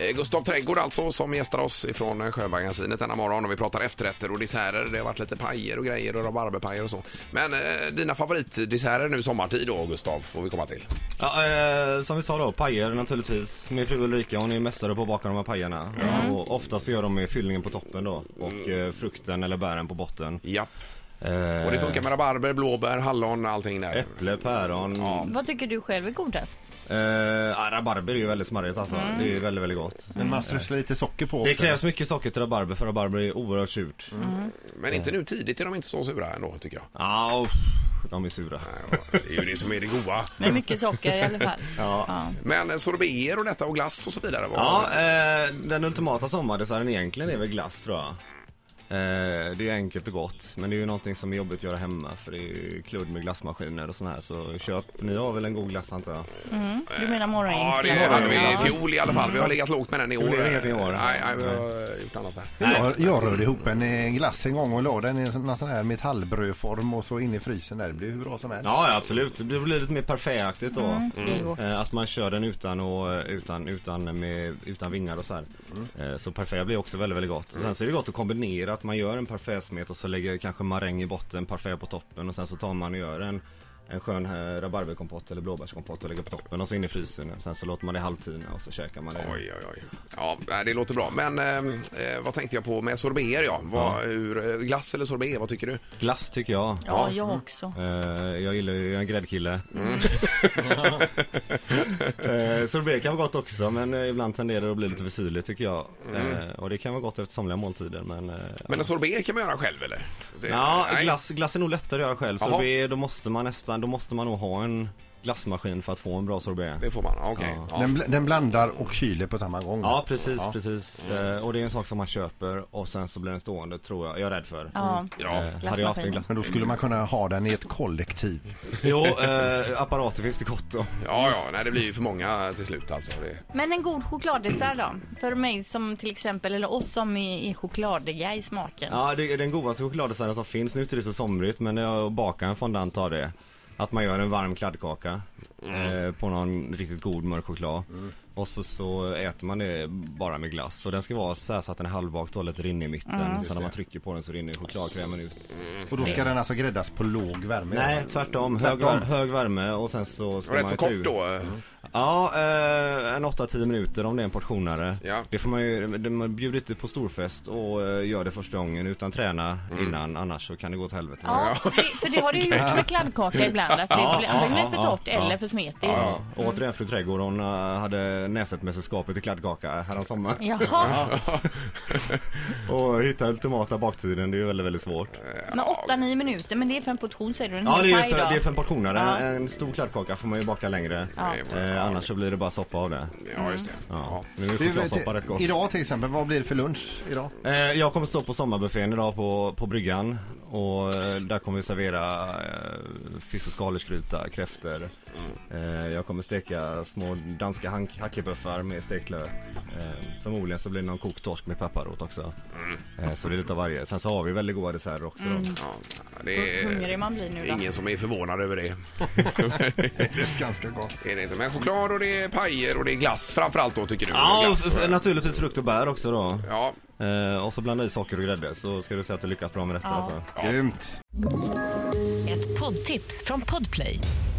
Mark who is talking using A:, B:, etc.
A: Eh, Gustav Trädgård alltså som gästar oss ifrån eh, Sjömagasinet denna morgon och vi pratar efterrätter och desserter. Det har varit lite pajer och grejer och rabarberpajer och så. Men eh, dina favoritdesserter nu sommartid då Gustav får vi komma till.
B: Ja, eh, som vi sa då, pajer naturligtvis. Min fru Ulrika hon är mästare på att baka de här pajerna.
A: Mm.
B: Och ofta så gör de med fyllningen på toppen då och eh, frukten eller bären på botten.
A: Ja.
B: Eh,
A: Mm. Och det funkar med rabarber, blåbär, hallon och allting där.
B: Äpple, päron. Ja.
C: Vad tycker du själv är godast?
B: Eh, rabarber är ju väldigt smarrigt alltså.
A: Mm.
B: Det är ju väldigt, väldigt gott.
D: Men man strösslar lite socker på
B: Det
D: också.
B: krävs mycket socker till rabarber för rabarber är oerhört surt.
A: Mm. Men inte nu tidigt är de inte så sura ändå tycker jag.
B: Ja, Ah, uff, de är sura.
A: Ja, Det är ju det som är det goda.
C: Med mycket socker i alla fall. Ja.
A: Men eh, sorbeter och detta och glass och så vidare. vad-
B: Ja, eh, den ultimata sommardesserten egentligen är väl glass tror jag. Eh, det är enkelt och gott, men det är ju någonting som är jobbigt att göra hemma för det är ju kludd med glassmaskiner och sån här. Så köp, ni har väl en god glass antar jag?
C: Du menar
A: Ja, det hade
C: morgongängsglassen?
A: vi i
C: Ja.
A: fjol i alla fall. Vi har legat lågt med den i år.
B: Det blev inget i år.
A: Nej, nej, vi har gjort annat där.
D: Jag, jag rörde ihop en eh, glass en gång och la den i en sån någon sån här metallbrödform och så in i frysen där. Det blev hur bra som helst.
B: Ja, ja absolut. Det blir lite mer parfaitaktigt då.
C: det är gott.
B: Eh, att man kör den utan, och, utan, utan, med, utan vingar och så här.
C: Mm.
B: Eh, så parfait blir också väldigt, väldigt gott. Och sen så är det gott att kombinera att man gör en parfaitsmet och så lägger kanske maräng i botten, parfait på toppen och sen så tar man och gör en en skön eh, rabarberkompott eller blåbärskompott och lägger på toppen och så in i frysen. Sen så låter man det halvtina och så käkar man det.
A: Oj, oj, oj. Ja, nej, det låter bra. Men ehm, eh, vad tänkte jag på med sorbeter? Ja. Vad, hur, eh, glass eller sorbet, vad tycker du?
B: Glass tycker jag.
C: ja, jag också.
B: Eh, jag gillar ju, jag är en gräddkille.
A: Mm.
B: eh, sorbet kan vara gott också men eh, ibland tenderar det att bli lite för syrligt tycker jag. Eh, och det kan vara gott efter somliga måltider men... Eh,
A: Mm. Men en sorbet kan man göra själv eller? Det-
B: ja,
A: nej.
B: glass, glass är nog lättare att göra själv.
A: Jaha.
B: Sorbet, då måste man nästan, då måste man nog ha en glassmaskin för att få en bra sorbet.
A: Det får man, ah, okej. Ja.
D: Den, bl- den blandar och kyler på samma gång.
B: Ja precis, precis.
A: Mm.
B: Eh, och det är en sak som man köper och sen så blir den stående tror jag. Jag är rädd för.
C: Ja.
A: Ja.
B: Eh, hade jag haft en
C: Glassmaskinen.
B: glass...
D: Men då skulle man kunna ha den i ett kollektiv.
B: Jo, eh, apparater finns det gott om.
A: Ja, ja, nej det blir ju för många till slut alltså. Det...
C: Men en god chokladdessert då? För mig som till exempel, eller oss som är, är chokladiga i smaken.
B: Ja, det är den godaste chokladdesserten som finns. Nu är inte det så somrigt, men när jag bakar en fondant av det. Att man gör en varm kladdkaka
A: Mm.
B: eh, på någon riktigt god mörk choklad. Och så, så äter man det bara med glass. Och den ska vara så här så att den är halvbakt och lite rinner i mitten.
A: Mm.
B: Sen när man trycker på den så rinner chokladkrämen ut.
D: Och då ska den alltså gräddas på låg värme.
B: Mm. Nej, tvärtom. Hög,
D: Tvärtom.
B: hög värme och sen så ska
A: Rätt
B: man Mm.
A: så
B: ta
A: kort
B: ur-
A: då. eh,
B: Ja, eh, en 8-10 minuter om det är en portionare.
A: Ja.
B: Det får man ju, det- man bjuder inte på storfest och eh, gör det första gången utan träna
A: Mm.
B: innan annars så kan det gå åt helvete.
C: Ja, för det, för det har du ju gjort med kladdkaka ibland, att det
B: Ja,
C: blir antingen
B: ja,
C: för
B: ja,
C: torrt
B: ja.
C: eller för smetigt.
B: Ja, och återigen fru Trädgård, hon eh, hade Näsetmästerskapet i kladdkaka härom sommar
C: Jaha,
B: Och hitta ultimata baktiden, det är ju väldigt, väldigt svårt.
C: men 8-9 minuter, men det är för en portion säger du, en
B: Ja,
C: hel
B: det är
C: paj
B: ju för,
C: då.
B: det är för en portionare.
C: Ja.
B: En stor kladdkaka får man ju baka längre.
A: Ja.
B: Eh, annars så blir det bara soppa av det.
A: Ja, just det.
B: Ja. Nu är
D: Du,
B: chokladsoppa rätt
D: till,
B: gott.
D: idag till exempel, vad blir det för lunch idag?
B: Eh, jag kommer stå på sommarbuffén idag på, på bryggan. Och eh, där kommer vi servera eh, fisk och skaldjursgryta, kräftor. Eh, jag kommer steka små danska hank- hackebuffar med stekt lök. Eh, förmodligen så blir det någon kokt torsk med pepparrot också. Eh, så det är lite av varje. Sen så har vi väldigt goda desserter också. då.
A: Ja. Det
C: Hur hungrig
A: är
C: man blir nu då.
A: ingen som är förvånad över det.
D: Ganska gott.
A: det, är det inte. Men choklad och det är pajer och det är glass framförallt då tycker du?
B: Ja, och
A: glass,
B: f-
A: eh,
B: naturligtvis frukt och bär också då.
A: Ja,
B: Eh, och så blanda i socker och grädde så ska du se att du lyckas bra med detta.
C: Ja.
B: Alltså.
D: Grymt.
E: Ett poddtips från Podplay.